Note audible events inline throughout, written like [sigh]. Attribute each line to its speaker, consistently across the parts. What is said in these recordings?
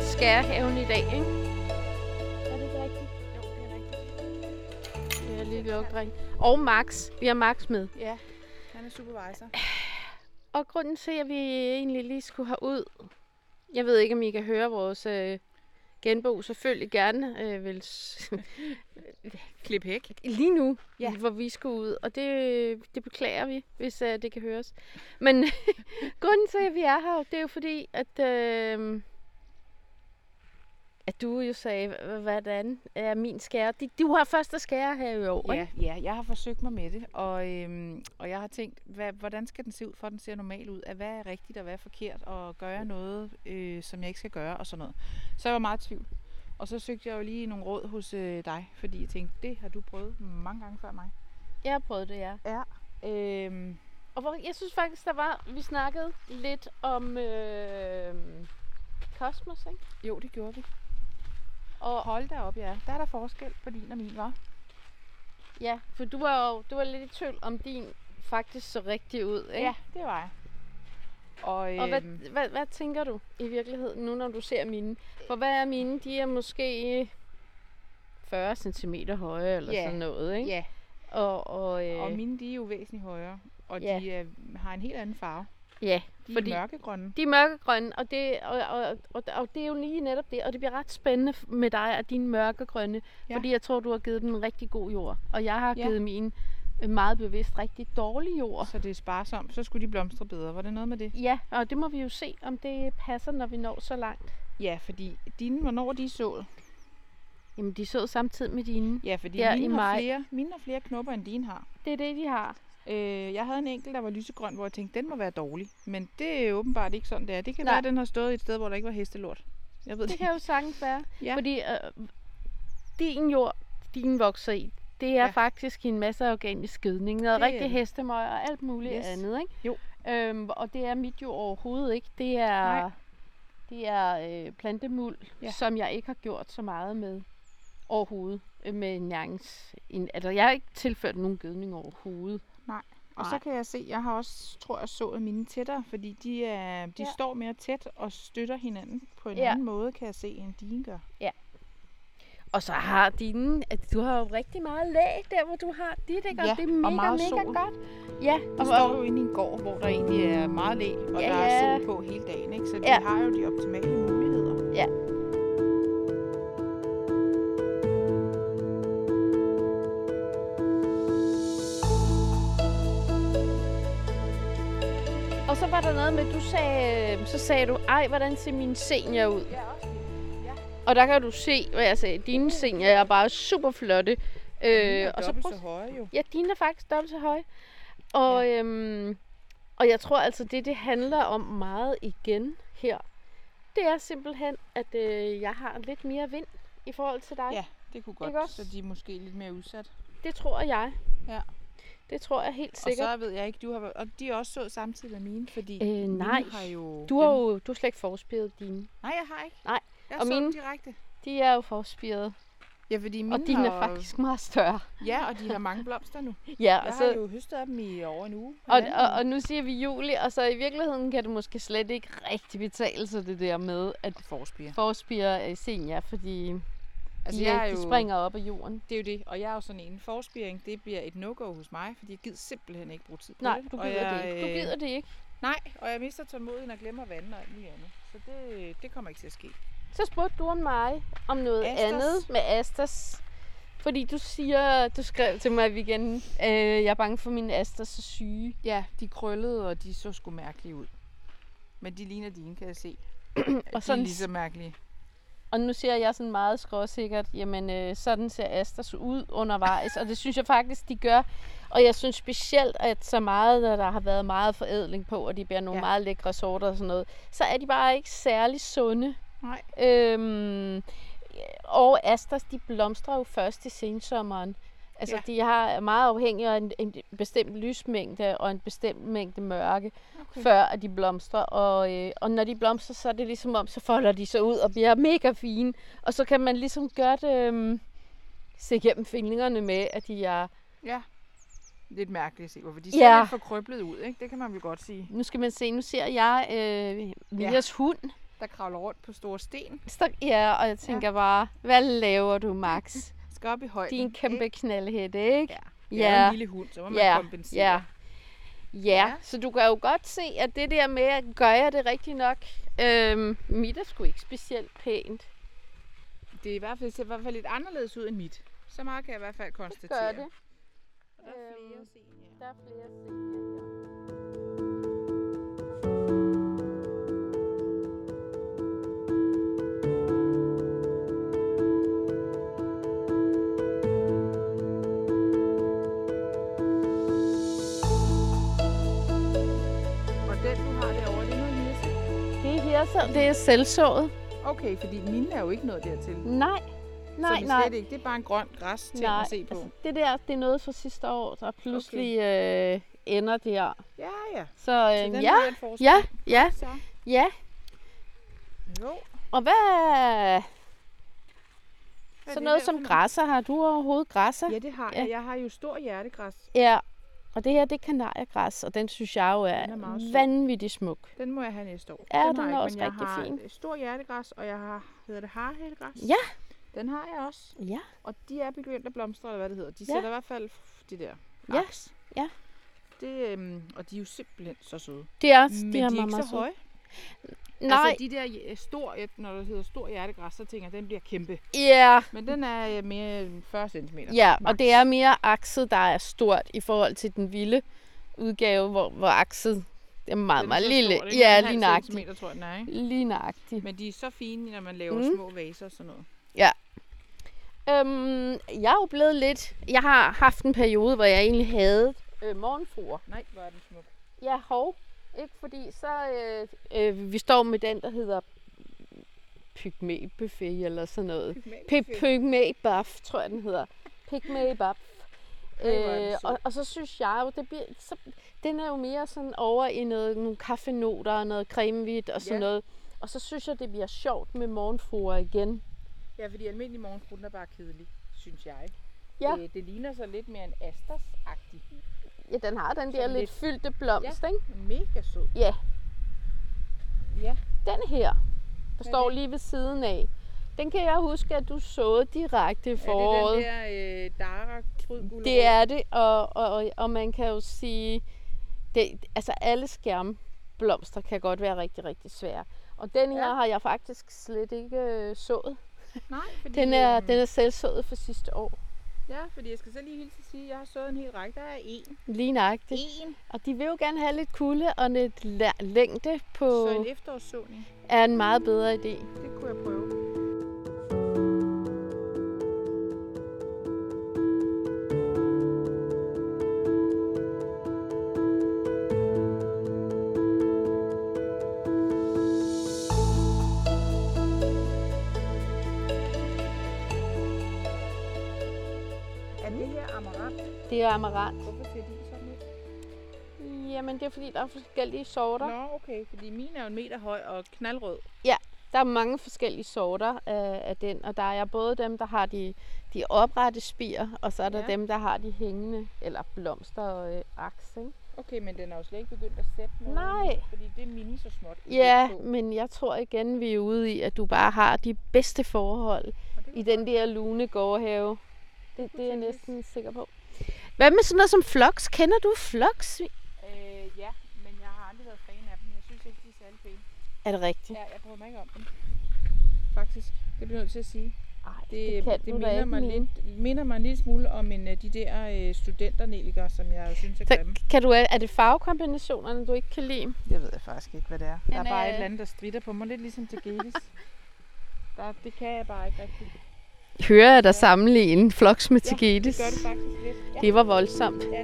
Speaker 1: skærhaven i dag, ikke? Er det ikke rigtigt? Jo, det er rigtigt. Det er lige lugtring. Og Max. Vi har Max med.
Speaker 2: Ja, han er supervisor.
Speaker 1: Og grunden til, at vi egentlig lige skulle have ud, jeg ved ikke, om I kan høre vores øh, genbo selvfølgelig gerne øh, vil s-
Speaker 2: Klip hæk.
Speaker 1: lige nu,
Speaker 2: Ja.
Speaker 1: ja. hvor vi skulle ud, og det, det beklager vi, hvis uh, det kan høres. Men [laughs] grunden til, at vi er her, det er jo fordi, at, øh, at du jo sagde, "H- hvordan er min skære? De- Du har først at skære her i år, ikke?
Speaker 2: Ja, ja, jeg har forsøgt mig med det, og, øhm, og jeg har tænkt, hvad, hvordan skal den se ud, for at den ser normal ud? At hvad er rigtigt, og hvad er forkert, og gør jeg noget, øh, som jeg ikke skal gøre, og sådan noget. Så jeg var meget i tvivl. Og så søgte jeg jo lige nogle råd hos øh, dig, fordi jeg tænkte, det har du prøvet mange gange før mig.
Speaker 1: Jeg har prøvet det, ja.
Speaker 2: Ja. Øhm,
Speaker 1: Og hvor, jeg synes faktisk, der var, vi snakkede lidt om øh, kosmos, ikke?
Speaker 2: jo, det gjorde vi.
Speaker 1: Og
Speaker 2: Hold da op, ja. Der er der forskel på din og min, var.
Speaker 1: ja, for du var jo du var lidt i tvivl om din faktisk så rigtig ud, ikke?
Speaker 2: Ja, det var jeg. Og, øhm,
Speaker 1: Og hvad, hvad, hvad tænker du i virkeligheden nu, når du ser mine? For hvad er mine? De er måske 40 cm høje eller
Speaker 2: Ja.
Speaker 1: sådan noget, ikke?
Speaker 2: Ja,
Speaker 1: Og, og, øh,
Speaker 2: og mine, de er jo væsentligt højere, og
Speaker 1: Ja.
Speaker 2: de øh, har en helt anden farve.
Speaker 1: ja,
Speaker 2: De
Speaker 1: Fordi-
Speaker 2: er mørkegrønne.
Speaker 1: de er mørkegrønne, og det, og, og, og, og det er jo lige netop det. Og det bliver ret spændende f- med dig og dine mørkegrønne,
Speaker 2: Ja.
Speaker 1: ja. fordi jeg tror, du har givet dem en rigtig god jord. Og jeg har
Speaker 2: Ja.
Speaker 1: ja. givet mine øh, meget bevidst rigtig dårlig jord.
Speaker 2: Så det er sparsomt. Så skulle de blomstre bedre. Var det noget med det?
Speaker 1: Ja, og det må vi jo se, om det passer, når vi når så langt.
Speaker 2: Ja, fordi dine, hvornår de er sået?
Speaker 1: Jamen, de så samtidig med dine.
Speaker 2: Ja, fordi
Speaker 1: Der i
Speaker 2: mine, har
Speaker 1: maj.
Speaker 2: flere, mine har flere knopper, end dine har.
Speaker 1: Det er det, de har.
Speaker 2: Øh, jeg havde en enkelt, der var lysegrøn, hvor jeg tænkte, den må være dårlig. Men det er åbenbart ikke sådan, det er. Det kan Nej.
Speaker 1: Nej.
Speaker 2: være, at den har stået et sted, hvor der ikke var hestelort. Jeg ved det
Speaker 1: Det kan jo sagtens være.
Speaker 2: Ja.
Speaker 1: ja. fordi øh, din jord, din vokser i, det er
Speaker 2: Ja.
Speaker 1: ja. faktisk i en masse organisk skydning. Noget
Speaker 2: Det er
Speaker 1: rigtig
Speaker 2: det.
Speaker 1: hestemøg og alt muligt
Speaker 2: Yes.
Speaker 1: yes. andet, ikke?
Speaker 2: Jo.
Speaker 1: Øhm, og det er mit jo overhovedet ikke. Det er,
Speaker 2: Nej.
Speaker 1: det er øh, plantemuld,
Speaker 2: Ja.
Speaker 1: ja. som jeg ikke har gjort så meget med overhovedet. øh, Med nærings, en, altså, jeg har ikke tilført nogen gødning overhovedet.
Speaker 2: Og så
Speaker 1: Nej.
Speaker 2: kan jeg se, jeg har også, tror jeg, sået mine tættere, fordi de, er, de
Speaker 1: Ja.
Speaker 2: ja. står mere tæt og støtter hinanden på en ja.
Speaker 1: Ja.
Speaker 2: anden måde, kan jeg se, end dine gør.
Speaker 1: Og så har dine, at du har jo rigtig meget lag der, hvor du har dit, ikke? Og
Speaker 2: Ja,
Speaker 1: det er
Speaker 2: og
Speaker 1: mega,
Speaker 2: meget
Speaker 1: mega
Speaker 2: sol.
Speaker 1: godt. Ja,
Speaker 2: Og så står du inde i en gård, hvor der egentlig er meget læ, og ja,
Speaker 1: Ja,
Speaker 2: der er
Speaker 1: ja.
Speaker 2: sol på hele dagen, ikke? så de ja. Øh,
Speaker 1: Ja.
Speaker 2: har jo de optimale muligheder.
Speaker 1: Og så var der noget med, at du sagde, øh, så sagde du, ej, hvordan ser mine senior ud?
Speaker 2: Ja, også
Speaker 1: Og der kan du se, hvad jeg sagde, dine seniorer er bare super flotte. Øh, og så prøv,
Speaker 2: høje jo.
Speaker 1: ja, dine er faktisk dobbelt så høje. Og, ja. øhm, og jeg tror altså, det det handler om meget igen her, det er simpelthen, at øh, jeg har lidt mere vind i forhold til dig.
Speaker 2: Ja, det kunne godt,
Speaker 1: Ikke også?
Speaker 2: så de er måske lidt mere udsat.
Speaker 1: Det tror jeg.
Speaker 2: Ja.
Speaker 1: Det tror jeg helt
Speaker 2: Og
Speaker 1: sikkert.
Speaker 2: så ved jeg ikke, du har og de er også så samtidig med mine, fordi
Speaker 1: Øh,
Speaker 2: mine
Speaker 1: nej.
Speaker 2: har jo...
Speaker 1: Du har jo du har slet ikke forspillet dine.
Speaker 2: Nej, jeg har ikke.
Speaker 1: Nej.
Speaker 2: Jeg
Speaker 1: Og
Speaker 2: så dem
Speaker 1: mine-
Speaker 2: direkte.
Speaker 1: De er jo forspillet,
Speaker 2: Ja, fordi mine
Speaker 1: og dine
Speaker 2: har...
Speaker 1: er faktisk meget større.
Speaker 2: Ja, og de har mange blomster nu.
Speaker 1: Ja,
Speaker 2: Jeg
Speaker 1: [laughs] og
Speaker 2: har jo høstet af dem i over en uge.
Speaker 1: Og,
Speaker 2: halvanden
Speaker 1: og,
Speaker 2: uge.
Speaker 1: og nu siger vi juli, og så i virkeligheden kan det måske slet ikke rigtig betale sig det der med, at
Speaker 2: forspiger.
Speaker 1: forspiger øh, senior, fordi altså,
Speaker 2: Altså,
Speaker 1: de,
Speaker 2: jeg er
Speaker 1: jeg
Speaker 2: jo,
Speaker 1: de springer op af jorden.
Speaker 2: Det er jo det, og jeg er jo sådan en forspiring, det bliver et no-go hos mig, fordi jeg gider simpelthen ikke bruge tid på
Speaker 1: Nej,
Speaker 2: det.
Speaker 1: du
Speaker 2: og
Speaker 1: gider
Speaker 2: jeg,
Speaker 1: det ikke. Du
Speaker 2: øh,
Speaker 1: gider det ikke.
Speaker 2: Nej, og jeg mister tålmodigheden og glemmer vandet og alt muligt andet. Så det, det kommer ikke til at ske.
Speaker 1: Så spurgte du om mig om noget
Speaker 2: Astas.
Speaker 1: Astas. andet med Astas. Fordi du siger, du skrev til mig i weekenden, øh, jeg er bange for, at mine Astas er syge.
Speaker 2: Ja, de krøllede, og de så sgu mærkelige ud. Men de ligner dine, kan jeg se. [clears throat] de
Speaker 1: sådan
Speaker 2: er
Speaker 1: s-
Speaker 2: lige så mærkelige.
Speaker 1: Og nu siger jeg sådan meget skråsikkert, jamen øh, sådan ser Astas ud undervejs, og det synes jeg faktisk, de gør. Og jeg synes specielt, at så meget, når der har været meget forædling på, og de bærer nogle
Speaker 2: Ja.
Speaker 1: ja. meget lækre sorter og sådan noget, så er de bare ikke særlig sunde.
Speaker 2: Nej.
Speaker 1: Øhm, og Astas, de blomstrer jo først i sensommeren. Altså,
Speaker 2: Ja.
Speaker 1: ja. de har er meget afhængige af en, en bestemt lysmængde og en bestemt mængde mørke,
Speaker 2: Okay.
Speaker 1: okay. før at de blomstrer. Og, øh, og når de blomstrer, så er det ligesom om, så folder de sig ud og bliver mega fine. Og så kan man ligesom godt øh, se gennem fingrene med, at de er...
Speaker 2: Ja. Lidt mærkeligt at se, hvorfor de ser
Speaker 1: Ja.
Speaker 2: ja. lidt for krøblet ud, ikke? Det kan man vel godt sige.
Speaker 1: Nu skal man se, nu ser jeg øh, Mias hund.
Speaker 2: der kravler rundt på store sten.
Speaker 1: Stok, ja, og jeg tænker ja. bare, hvad laver du, Max?
Speaker 2: Skal op i højden. [laughs]
Speaker 1: Din kæmpe
Speaker 2: ikke?
Speaker 1: knaldhætte, ikke?
Speaker 2: Ja. Det er jo
Speaker 1: Ja.
Speaker 2: en lille hund, så må man
Speaker 1: Ja,
Speaker 2: kompensere.
Speaker 1: ja. Ja,
Speaker 2: Ja.
Speaker 1: så du kan jo godt se, at det der med, at gør jeg det rigtigt nok, øhm, mit er sgu ikke specielt pænt.
Speaker 2: Det er i hvert fald, ser i hvert fald lidt anderledes ud end mit. Så meget kan jeg i hvert fald
Speaker 1: Det
Speaker 2: konstatere.
Speaker 1: gør det.
Speaker 2: Og der er flere
Speaker 1: Øhm,
Speaker 2: at se her.
Speaker 1: Der er flere serier her.
Speaker 2: Og den, du har derovre, det er noget hirse.
Speaker 1: Det er her, så det er selvsået.
Speaker 2: Okay, fordi mine er jo ikke noget dertil.
Speaker 1: Nej,
Speaker 2: så
Speaker 1: nej,
Speaker 2: det er
Speaker 1: nej.
Speaker 2: slet ikke. Det er bare en grøn græs til
Speaker 1: nej.
Speaker 2: at se på.
Speaker 1: Altså, det der, det er noget fra sidste år, der pludselig okay. øh, ender der.
Speaker 2: Ja, ja.
Speaker 1: Så,
Speaker 2: Så
Speaker 1: øh,
Speaker 2: den
Speaker 1: så ja,
Speaker 2: har en forskel.
Speaker 1: ja, ja,
Speaker 2: Så.
Speaker 1: ja.
Speaker 2: Jo.
Speaker 1: Og hvad...
Speaker 2: Hvad er
Speaker 1: Så
Speaker 2: det
Speaker 1: noget
Speaker 2: der
Speaker 1: som
Speaker 2: for
Speaker 1: græsser, har du overhovedet græsser?
Speaker 2: Ja, det har jeg.
Speaker 1: Ja.
Speaker 2: Jeg har jo stor hjertegræs.
Speaker 1: Ja, og det her, det er kanariegræs, og den synes jeg jo er,
Speaker 2: Den er meget sød.
Speaker 1: vanvittigt smuk.
Speaker 2: Den må jeg have næste år.
Speaker 1: Ja,
Speaker 2: har
Speaker 1: den
Speaker 2: jeg
Speaker 1: er
Speaker 2: ikke,
Speaker 1: også
Speaker 2: men jeg
Speaker 1: rigtig
Speaker 2: har
Speaker 1: fin.
Speaker 2: stor hjertegræs, og jeg har, hedder det harhælgræs.
Speaker 1: Ja,
Speaker 2: Den har jeg også.
Speaker 1: ja.
Speaker 2: Og de er begyndt at blomstre, eller hvad det hedder. De
Speaker 1: Ja.
Speaker 2: sætter i hvert fald f- de der
Speaker 1: Ja,
Speaker 2: aks.
Speaker 1: ja.
Speaker 2: Det, øhm, og de er jo simpelthen så søde.
Speaker 1: Det er også,
Speaker 2: Men
Speaker 1: de, er
Speaker 2: de er
Speaker 1: meget,
Speaker 2: ikke
Speaker 1: meget
Speaker 2: så
Speaker 1: søde.
Speaker 2: høje.
Speaker 1: Nej,
Speaker 2: Altså de der øh, stor, ja, når det hedder stor hjertegræs, så tænker jeg, den bliver kæmpe.
Speaker 1: ja,
Speaker 2: Men den er øh, mere end 40 cm.
Speaker 1: ja, og det er mere akset, der er stort i forhold til den vilde udgave, hvor, hvor akset er meget, meget lille. ja, lige nøjagtigt.
Speaker 2: centimeter, tror jeg, den er, ikke?
Speaker 1: Lige nøjagtigt.
Speaker 2: Men de er så fine, når man laver
Speaker 1: Mm.
Speaker 2: mm. små vaser og sådan noget.
Speaker 1: Øhm, jeg er jo blevet lidt... Jeg har haft en periode, hvor jeg egentlig havde øh, morgenfruer.
Speaker 2: Nej, hvor er den smuk.
Speaker 1: Ja, hov. Ikke fordi så... Øh, øh, vi står med den, der hedder pygmæbuffet eller sådan noget.
Speaker 2: øh,
Speaker 1: Py- Pygmæbuff, tror jeg, den hedder. Pygmæbuff.
Speaker 2: Ej, hvor er den
Speaker 1: Øh,
Speaker 2: sød.
Speaker 1: og, og, så synes jeg jo, det bliver, så, den er jo mere sådan over i noget, nogle kaffenoter og noget cremehvidt og sådan
Speaker 2: Ja.
Speaker 1: noget. Og så synes jeg, det bliver sjovt med morgenfruer igen.
Speaker 2: Ja, fordi almindelig morgenfru, den er bare kedelig, synes jeg.
Speaker 1: Ja.
Speaker 2: Øh, det ligner så lidt mere en asters-agtig.
Speaker 1: Ja, den har den der
Speaker 2: Sådan
Speaker 1: lidt, lidt
Speaker 2: lidt-
Speaker 1: fyldte blomst, ja. ikke?
Speaker 2: Mega sød.
Speaker 1: Ja.
Speaker 2: Ja.
Speaker 1: Den her, der
Speaker 2: Hvad er
Speaker 1: står
Speaker 2: det?
Speaker 1: lige ved siden af, den kan jeg huske, at du såede direkte i
Speaker 2: Er
Speaker 1: foråret.
Speaker 2: det den der øh, dara krydgulderod?
Speaker 1: det er det, og, og, og, og man kan jo sige, det, altså alle skærmblomster kan godt være rigtig, rigtig svære. Og den her
Speaker 2: Ja.
Speaker 1: ja. har jeg faktisk slet ikke øh, sået. øh,
Speaker 2: Nej, fordi,
Speaker 1: Den er,
Speaker 2: øhm,
Speaker 1: den er selv sået for sidste år.
Speaker 2: Ja, fordi jeg skal så lige hilse at sige, at jeg har sået en hel række. Der er én.
Speaker 1: Lige nøjagtigt.
Speaker 2: Én?
Speaker 1: Og de vil jo gerne have lidt kulde og lidt læ- længde på,
Speaker 2: Så en efterårssåning.
Speaker 1: er en meget bedre idé.
Speaker 2: Det kunne jeg prøve. Er det her amarant?
Speaker 1: Det er amarant.
Speaker 2: Hvorfor ser de sådan ud?
Speaker 1: Jamen, det er fordi, der er forskellige sorter. Nå.
Speaker 2: Nå, okay, fordi mine er jo en meter høj og knaldrød.
Speaker 1: Der er mange forskellige sorter af, af den, og der er både dem, der har de, de oprette spier, og så er der ja.
Speaker 2: Ja.
Speaker 1: dem, der har de hængende, eller blomster og øh, aks, ikke?
Speaker 2: Okay, men den er jo slet ikke begyndt at sætte noget.
Speaker 1: Nej.
Speaker 2: Fordi det er mine så småt.
Speaker 1: Ja,
Speaker 2: begyndt på.
Speaker 1: men jeg tror igen, vi er ude i, at du bare har de bedste forhold
Speaker 2: Og det
Speaker 1: i
Speaker 2: var-
Speaker 1: den der lune gårdhave. Det, det er jeg
Speaker 2: tænkes.
Speaker 1: næsten sikker på. Hvad med sådan noget som floks? Kender du floks?
Speaker 2: Øh, ja, men jeg har aldrig været fan af dem. Jeg synes ikke, de er særlig pæne.
Speaker 1: Er det rigtigt?
Speaker 2: Ja, jeg bryder mig ikke om dem. Faktisk. Det bliver jeg nødt til at sige.
Speaker 1: Ej,
Speaker 2: Det, det, det
Speaker 1: du da
Speaker 2: minder,
Speaker 1: ikke
Speaker 2: mig
Speaker 1: mene.
Speaker 2: lidt, minder mig en lille smule om en, af de der øh, studenternelikere, som jeg jo synes er
Speaker 1: Så
Speaker 2: grimme.
Speaker 1: kan du, er det farvekombinationerne, du ikke kan lide?
Speaker 2: Det ved jeg faktisk ikke, hvad det er. Der er
Speaker 1: Den
Speaker 2: bare
Speaker 1: er-
Speaker 2: et eller andet, der strider på mig. Lidt ligesom til
Speaker 1: [laughs]
Speaker 2: Gedis. der, det kan jeg bare ikke rigtig.
Speaker 1: Hører jeg dig sammenligne floks med
Speaker 2: Ja,
Speaker 1: Tigetis?
Speaker 2: Det gør det faktisk lidt. Ja.
Speaker 1: Det var voldsomt.
Speaker 2: Ja.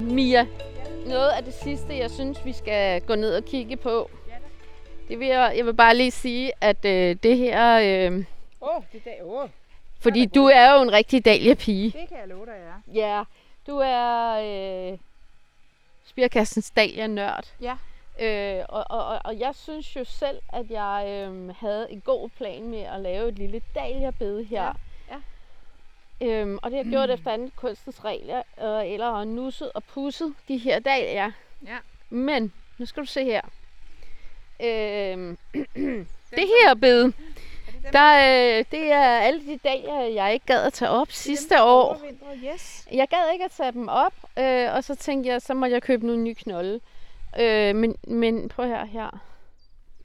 Speaker 1: Mia, noget af det sidste, jeg synes, vi skal gå ned og kigge på,
Speaker 2: Ja, da.
Speaker 1: det vil jeg, jeg vil bare lige sige, at øh, det her, øh,
Speaker 2: Åh, oh, det er dag. Åh, oh,
Speaker 1: fordi du er jo en rigtig dahlia pige.
Speaker 2: det kan jeg love dig, jeg er.
Speaker 1: Ja, du er øh, Spirkassens dag, jeg er nørd.
Speaker 2: Ja.
Speaker 1: Øh, og, og, og- og jeg synes jo selv, at jeg øhm, havde en god plan med at lave et lille dahliabed her.
Speaker 2: Ja,
Speaker 1: Øhm, og det har jeg gjort efter anden kunstens regler, øh, eller har nusset og pusset de her dahlier.
Speaker 2: Ja.
Speaker 1: Men, nu skal du se her. Øhm, [clears throat] det her bed, der, øh, det er alle de dahlier, jeg ikke gad at tage op sidste år.
Speaker 2: Yes.
Speaker 1: Jeg gad ikke at tage dem op, øh, og så tænkte jeg, så må jeg købe nogle nye knolde. Øh, men, men prøv her her.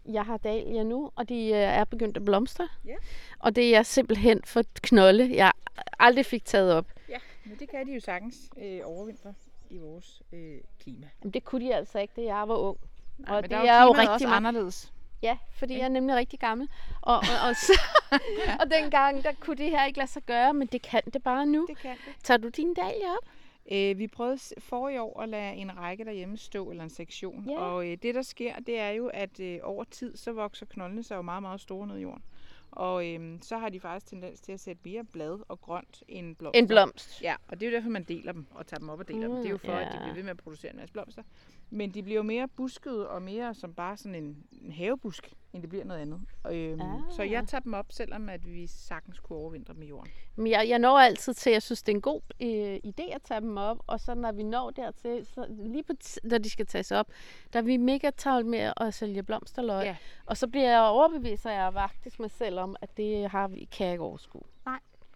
Speaker 1: Jeg har dahlier nu, og de øh, er begyndt at blomstre.
Speaker 2: Ja.
Speaker 1: Og det er simpelthen for knolde, jeg aldrig fik taget op.
Speaker 2: Ja, men det kan de jo sagtens øh, overvintre i vores øh, klima.
Speaker 1: Jamen, det kunne de altså ikke, da jeg var ung.
Speaker 2: Nej,
Speaker 1: og
Speaker 2: men
Speaker 1: det
Speaker 2: der
Speaker 1: er jo
Speaker 2: klimaet
Speaker 1: rigtig
Speaker 2: også
Speaker 1: meget-
Speaker 2: anderledes.
Speaker 1: Ja, fordi jeg er nemlig rigtig gammel. Og, og, og,
Speaker 2: [laughs]
Speaker 1: så, [laughs] og dengang, der kunne det her ikke lade sig gøre, men det kan det bare nu.
Speaker 2: Det kan det.
Speaker 1: Tager du dine dahlier op?
Speaker 2: Øh, vi prøvede s- for i år at lade en række derhjemme stå, eller en sektion.
Speaker 1: Ja.
Speaker 2: Og øh, det, der sker, det er jo, at øh, over tid, så vokser knoldene sig jo meget, meget store ned i jorden. Og øh, så har de faktisk tendens til at sætte mere blad og grønt end blomster.
Speaker 1: En blomst.
Speaker 2: Ja, og det er jo derfor, man deler dem og tager dem op og deler mm, dem. Det er jo
Speaker 1: Mm,
Speaker 2: for, ja. at de
Speaker 1: ja.
Speaker 2: bliver ved med at producere en masse blomster. Men de bliver jo mere buskede og mere som bare sådan en, en havebusk, end det bliver noget andet. Og, øhm, ah. Så
Speaker 1: Ah.
Speaker 2: jeg tager dem op, selvom at vi sagtens kunne overvintre dem i jorden.
Speaker 1: Men jeg, jeg når altid til, at jeg synes, det er en god øh, idé at tage dem op. Og så når vi når dertil, så lige på t- når de skal tages op, der er vi mega travlt med at sælge blomsterløg.
Speaker 2: Ja.
Speaker 1: Og så bliver jeg overbevist, og jeg er faktisk mig selv om, at det har vi, kan jeg ikke overskue.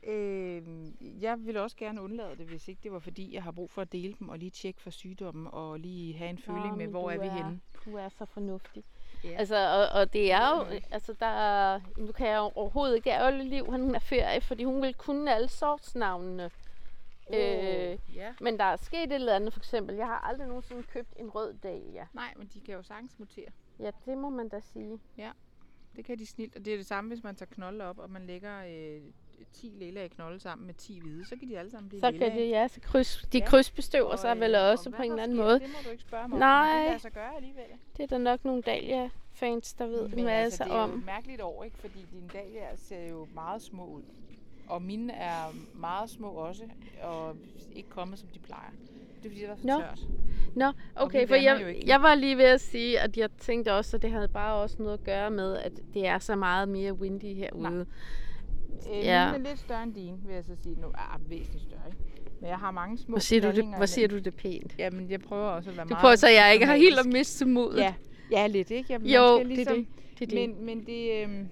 Speaker 2: Øh, jeg ville også gerne undlade det, hvis ikke det var fordi, jeg har brug for at dele dem og lige tjekke for sygdommen og lige have en føling
Speaker 1: Nå,
Speaker 2: med,
Speaker 1: men
Speaker 2: hvor
Speaker 1: du
Speaker 2: er vi henne.
Speaker 1: Du er så fornuftig.
Speaker 2: Ja.
Speaker 1: Yeah. Altså, og, og det er jo, altså der, er- nu kan jeg jo overhovedet ikke ærge liv, han er ferie, fordi hun vil kunne alle sortsnavnene. Øh,
Speaker 2: ja.
Speaker 1: men der er sket et eller andet, for eksempel, jeg har aldrig nogensinde købt en rød dahlia.
Speaker 2: Nej, men de kan jo sagtens mutere.
Speaker 1: Ja, det må man da sige.
Speaker 2: Det kan de snilt. Og det er det samme, hvis man tager knolde op, og man lægger øh, 10 lilla i knolde sammen med 10 hvide, så kan de alle sammen blive
Speaker 1: Så
Speaker 2: lilla. øh,
Speaker 1: kan det, ja, så kryds, de
Speaker 2: Ja.
Speaker 1: krydsbestøver sig vel også på en eller anden måde.
Speaker 2: Det må du ikke spørge mig
Speaker 1: om, men det
Speaker 2: Det
Speaker 1: lader
Speaker 2: lader sig gøre alligevel.
Speaker 1: Det er der nok nogle Dahlia-fans, der ved en masse
Speaker 2: altså, det er jo
Speaker 1: om.
Speaker 2: et mærkeligt år, ikke? Fordi dine dahlier ser jo meget små ud. Og mine er meget små også, og ikke kommet som de plejer. Det er fordi, det er så
Speaker 1: Nå.
Speaker 2: tørt.
Speaker 1: Nå,
Speaker 2: Og vi
Speaker 1: okay, for
Speaker 2: blander jo
Speaker 1: jeg,
Speaker 2: ikke.
Speaker 1: jeg var lige ved at sige, at jeg tænkte også, at det havde bare også noget at gøre med, at det er så meget mere windy herude. Ja.
Speaker 2: Øh, ja. Mine er lidt større end dine, vil jeg så sige. Nu er ah, væsentligt større, ikke? Men jeg har mange små
Speaker 1: Hvor siger du det,
Speaker 2: knaldninger
Speaker 1: hvor siger
Speaker 2: imellem.
Speaker 1: du det pænt?
Speaker 2: Jamen, jeg prøver også at være
Speaker 1: Du
Speaker 2: meget...
Speaker 1: prøver så, at jeg ikke har helt at
Speaker 2: diplomatisk.
Speaker 1: miste modet.
Speaker 2: Ja, ja lidt, ikke? Jamen, man
Speaker 1: Jo,
Speaker 2: skal ligesom-
Speaker 1: det er det. det, er det.
Speaker 2: Men, men det, øh,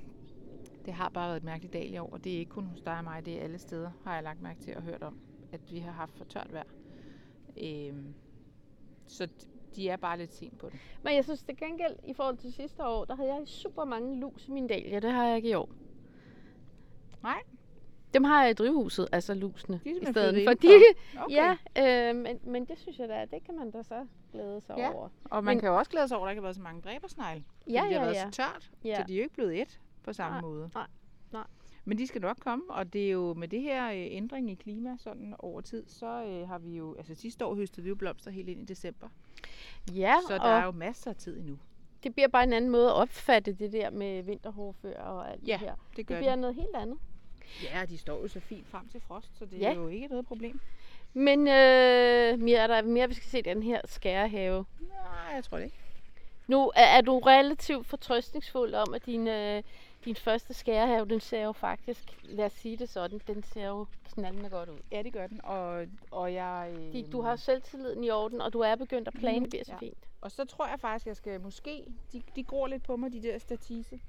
Speaker 2: det har bare været et mærkeligt dag i år, og det er ikke kun hos dig og mig, det er alle steder, har jeg lagt mærke til og hørt om, at vi har haft for tørt vejr. Øh, så d- de er bare lidt sent på det.
Speaker 1: Men jeg synes til gengæld, i forhold til sidste år, der havde jeg super mange lus i min dahlia. Det har jeg ikke i år.
Speaker 2: Nej.
Speaker 1: Dem har jeg i drivhuset, altså lusene.
Speaker 2: De er
Speaker 1: i
Speaker 2: simpelthen
Speaker 1: stedet
Speaker 2: flyttet
Speaker 1: for. De,
Speaker 2: indenfor.
Speaker 1: okay. [laughs] Ja, øh, men, men det synes jeg da, det kan man da så glæde sig
Speaker 2: Ja.
Speaker 1: over.
Speaker 2: Og man
Speaker 1: men-
Speaker 2: men, kan jo også glæde sig over, at der ikke har været så mange dræbersnegle. fordi
Speaker 1: Ja,
Speaker 2: det
Speaker 1: ja,
Speaker 2: har været
Speaker 1: ja.
Speaker 2: så tørt,
Speaker 1: Ja.
Speaker 2: så de er jo ikke blevet et på samme
Speaker 1: Nej,
Speaker 2: måde.
Speaker 1: nej, nej.
Speaker 2: Men de skal nok komme, og det er jo med det her øh, ændring i klima sådan over tid, så øh, har vi jo, altså sidste år høstede vi jo blomster helt ind i december.
Speaker 1: Ja,
Speaker 2: så der
Speaker 1: og
Speaker 2: er jo masser af tid endnu.
Speaker 1: det bliver bare en anden måde at opfatte det der med vinterhoffører og alt
Speaker 2: Ja,
Speaker 1: det her.
Speaker 2: det gør
Speaker 1: Det bliver noget helt andet.
Speaker 2: Ja, og de står jo så fint frem til frost, så det
Speaker 1: Ja.
Speaker 2: er jo ikke noget problem.
Speaker 1: Men øh, mere, er der mere, vi skal se i den her skærehave.
Speaker 2: Nej, jeg tror det ikke.
Speaker 1: Nu er, er du relativt fortrøstningsfuld om, at din, øh, din første skærehave, den ser jo faktisk, lad os sige det sådan, den ser jo knaldende godt ud.
Speaker 2: Ja, det gør den, og, og jeg...
Speaker 1: Fordi
Speaker 2: øhm,
Speaker 1: du har selvtilliden i orden, og du er begyndt at plane,
Speaker 2: Mhm,
Speaker 1: det bliver så
Speaker 2: ja.
Speaker 1: fint.
Speaker 2: Og så tror jeg faktisk, jeg skal måske... De, de gror lidt på mig, de der statise.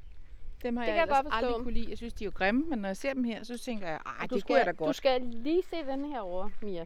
Speaker 2: Dem har
Speaker 1: Det
Speaker 2: jeg,
Speaker 1: kan jeg
Speaker 2: ellers
Speaker 1: godt forstå.
Speaker 2: aldrig kunne lide. Jeg synes, de er jo grimme, men når jeg ser dem her, så tænker jeg, ej,
Speaker 1: Og
Speaker 2: det
Speaker 1: skal,
Speaker 2: kunne jeg da
Speaker 1: Du
Speaker 2: godt.
Speaker 1: skal lige se den her over, Mia.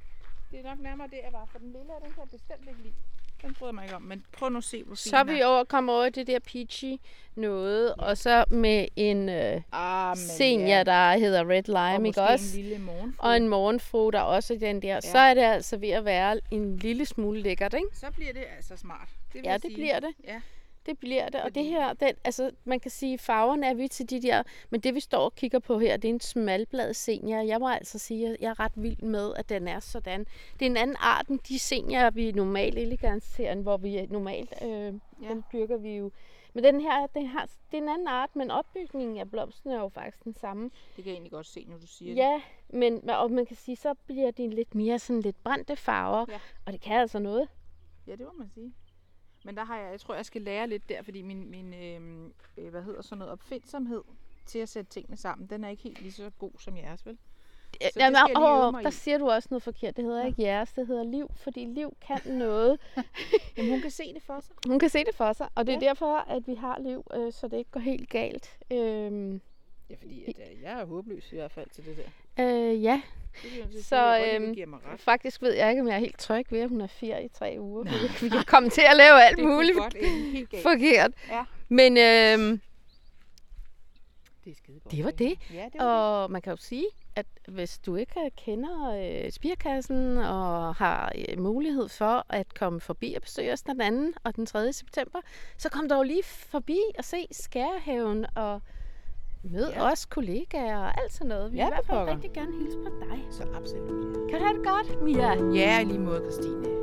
Speaker 2: Det er nok nærmere det, jeg var, for den lille, den kan jeg bestemt ikke lide. Den bryder jeg mig ikke om, men prøv nu at se, hvor fin
Speaker 1: Så er vi
Speaker 2: den
Speaker 1: over, kommer over i det der peachy noget, og så med en øh,
Speaker 2: Ah, men
Speaker 1: senior,
Speaker 2: ja.
Speaker 1: der hedder Red
Speaker 2: Og
Speaker 1: Lime, ikke
Speaker 2: måske
Speaker 1: også?
Speaker 2: en lille morgen.
Speaker 1: og en morgenfru, der også er den der, ja. så er det altså ved at være en lille smule lækkert, ikke?
Speaker 2: Så bliver det altså smart. Det vil
Speaker 1: Ja, det
Speaker 2: jeg sige.
Speaker 1: bliver det.
Speaker 2: Ja.
Speaker 1: Det bliver det. Og det
Speaker 2: Fordi-
Speaker 1: her, den, altså, man kan sige, farverne er vi til de der, men det vi står og kigger på her, det er en smalblad senior. Jeg må altså sige, at jeg er ret vild med, at den er sådan. Det er en anden art end de seniorer, vi normalt eleganserende, hvor vi normalt, øh, ja.
Speaker 2: Ja.
Speaker 1: den dyrker vi jo. Men den her, den har, det er en anden art, men opbygningen af blomsten er jo faktisk den samme.
Speaker 2: Det kan jeg egentlig godt se, når du siger det.
Speaker 1: Ja, men og man kan sige, så bliver det lidt mere sådan lidt brændte farver,
Speaker 2: Ja.
Speaker 1: og det kan altså noget.
Speaker 2: Ja, det må man sige. Men der har jeg, jeg tror, jeg skal lære lidt der, fordi min, min øh, øh, hvad hedder sådan noget, opfindsomhed til at sætte tingene sammen, den er ikke helt lige så god som jeres, vel?
Speaker 1: Ja,
Speaker 2: det
Speaker 1: Jamen,
Speaker 2: skal jeg lige øve
Speaker 1: åh,
Speaker 2: mig
Speaker 1: der
Speaker 2: i.
Speaker 1: siger du også noget forkert. Det hedder
Speaker 2: Nå.
Speaker 1: ikke jeres, det hedder liv, fordi liv kan noget.
Speaker 2: Jamen, hun kan se det for sig.
Speaker 1: Hun kan se det for sig, og det er
Speaker 2: Ja.
Speaker 1: derfor, at vi har liv, øh, så det ikke går helt galt. Øhm,
Speaker 2: Ja, fordi at, øh, jeg er håbløs i hvert fald til det der.
Speaker 1: øh, ja,
Speaker 2: Det vil jeg sige,
Speaker 1: Så,
Speaker 2: jeg håber,
Speaker 1: øhm,
Speaker 2: det giver mig ret.
Speaker 1: faktisk ved jeg ikke, om jeg er helt tryg ved, at hun er fire i tre uger. Vi kan- Vi kan komme til at lave alt
Speaker 2: Det kunne
Speaker 1: muligt
Speaker 2: godt ende helt galt.
Speaker 1: forkert.
Speaker 2: Ja.
Speaker 1: Men øhm,
Speaker 2: Det er skide godt.
Speaker 1: det var det.
Speaker 2: Ja, det var
Speaker 1: Og man kan jo sige, at hvis du ikke kender øh, spirkassen og har øh, mulighed for at komme forbi og besøge os den 2. og den 3. september, så kom dog lige forbi og se Skærhaven og mød
Speaker 2: Ja.
Speaker 1: ja. os kollegaer og alt sådan noget. Vi
Speaker 2: Ja,
Speaker 1: ja, vil i hvert fald
Speaker 2: pokker.
Speaker 1: rigtig gerne hilse på dig.
Speaker 2: det. Så absolut.
Speaker 1: Kan du have det godt, Mia?
Speaker 2: Ja, i lige måde, Christine.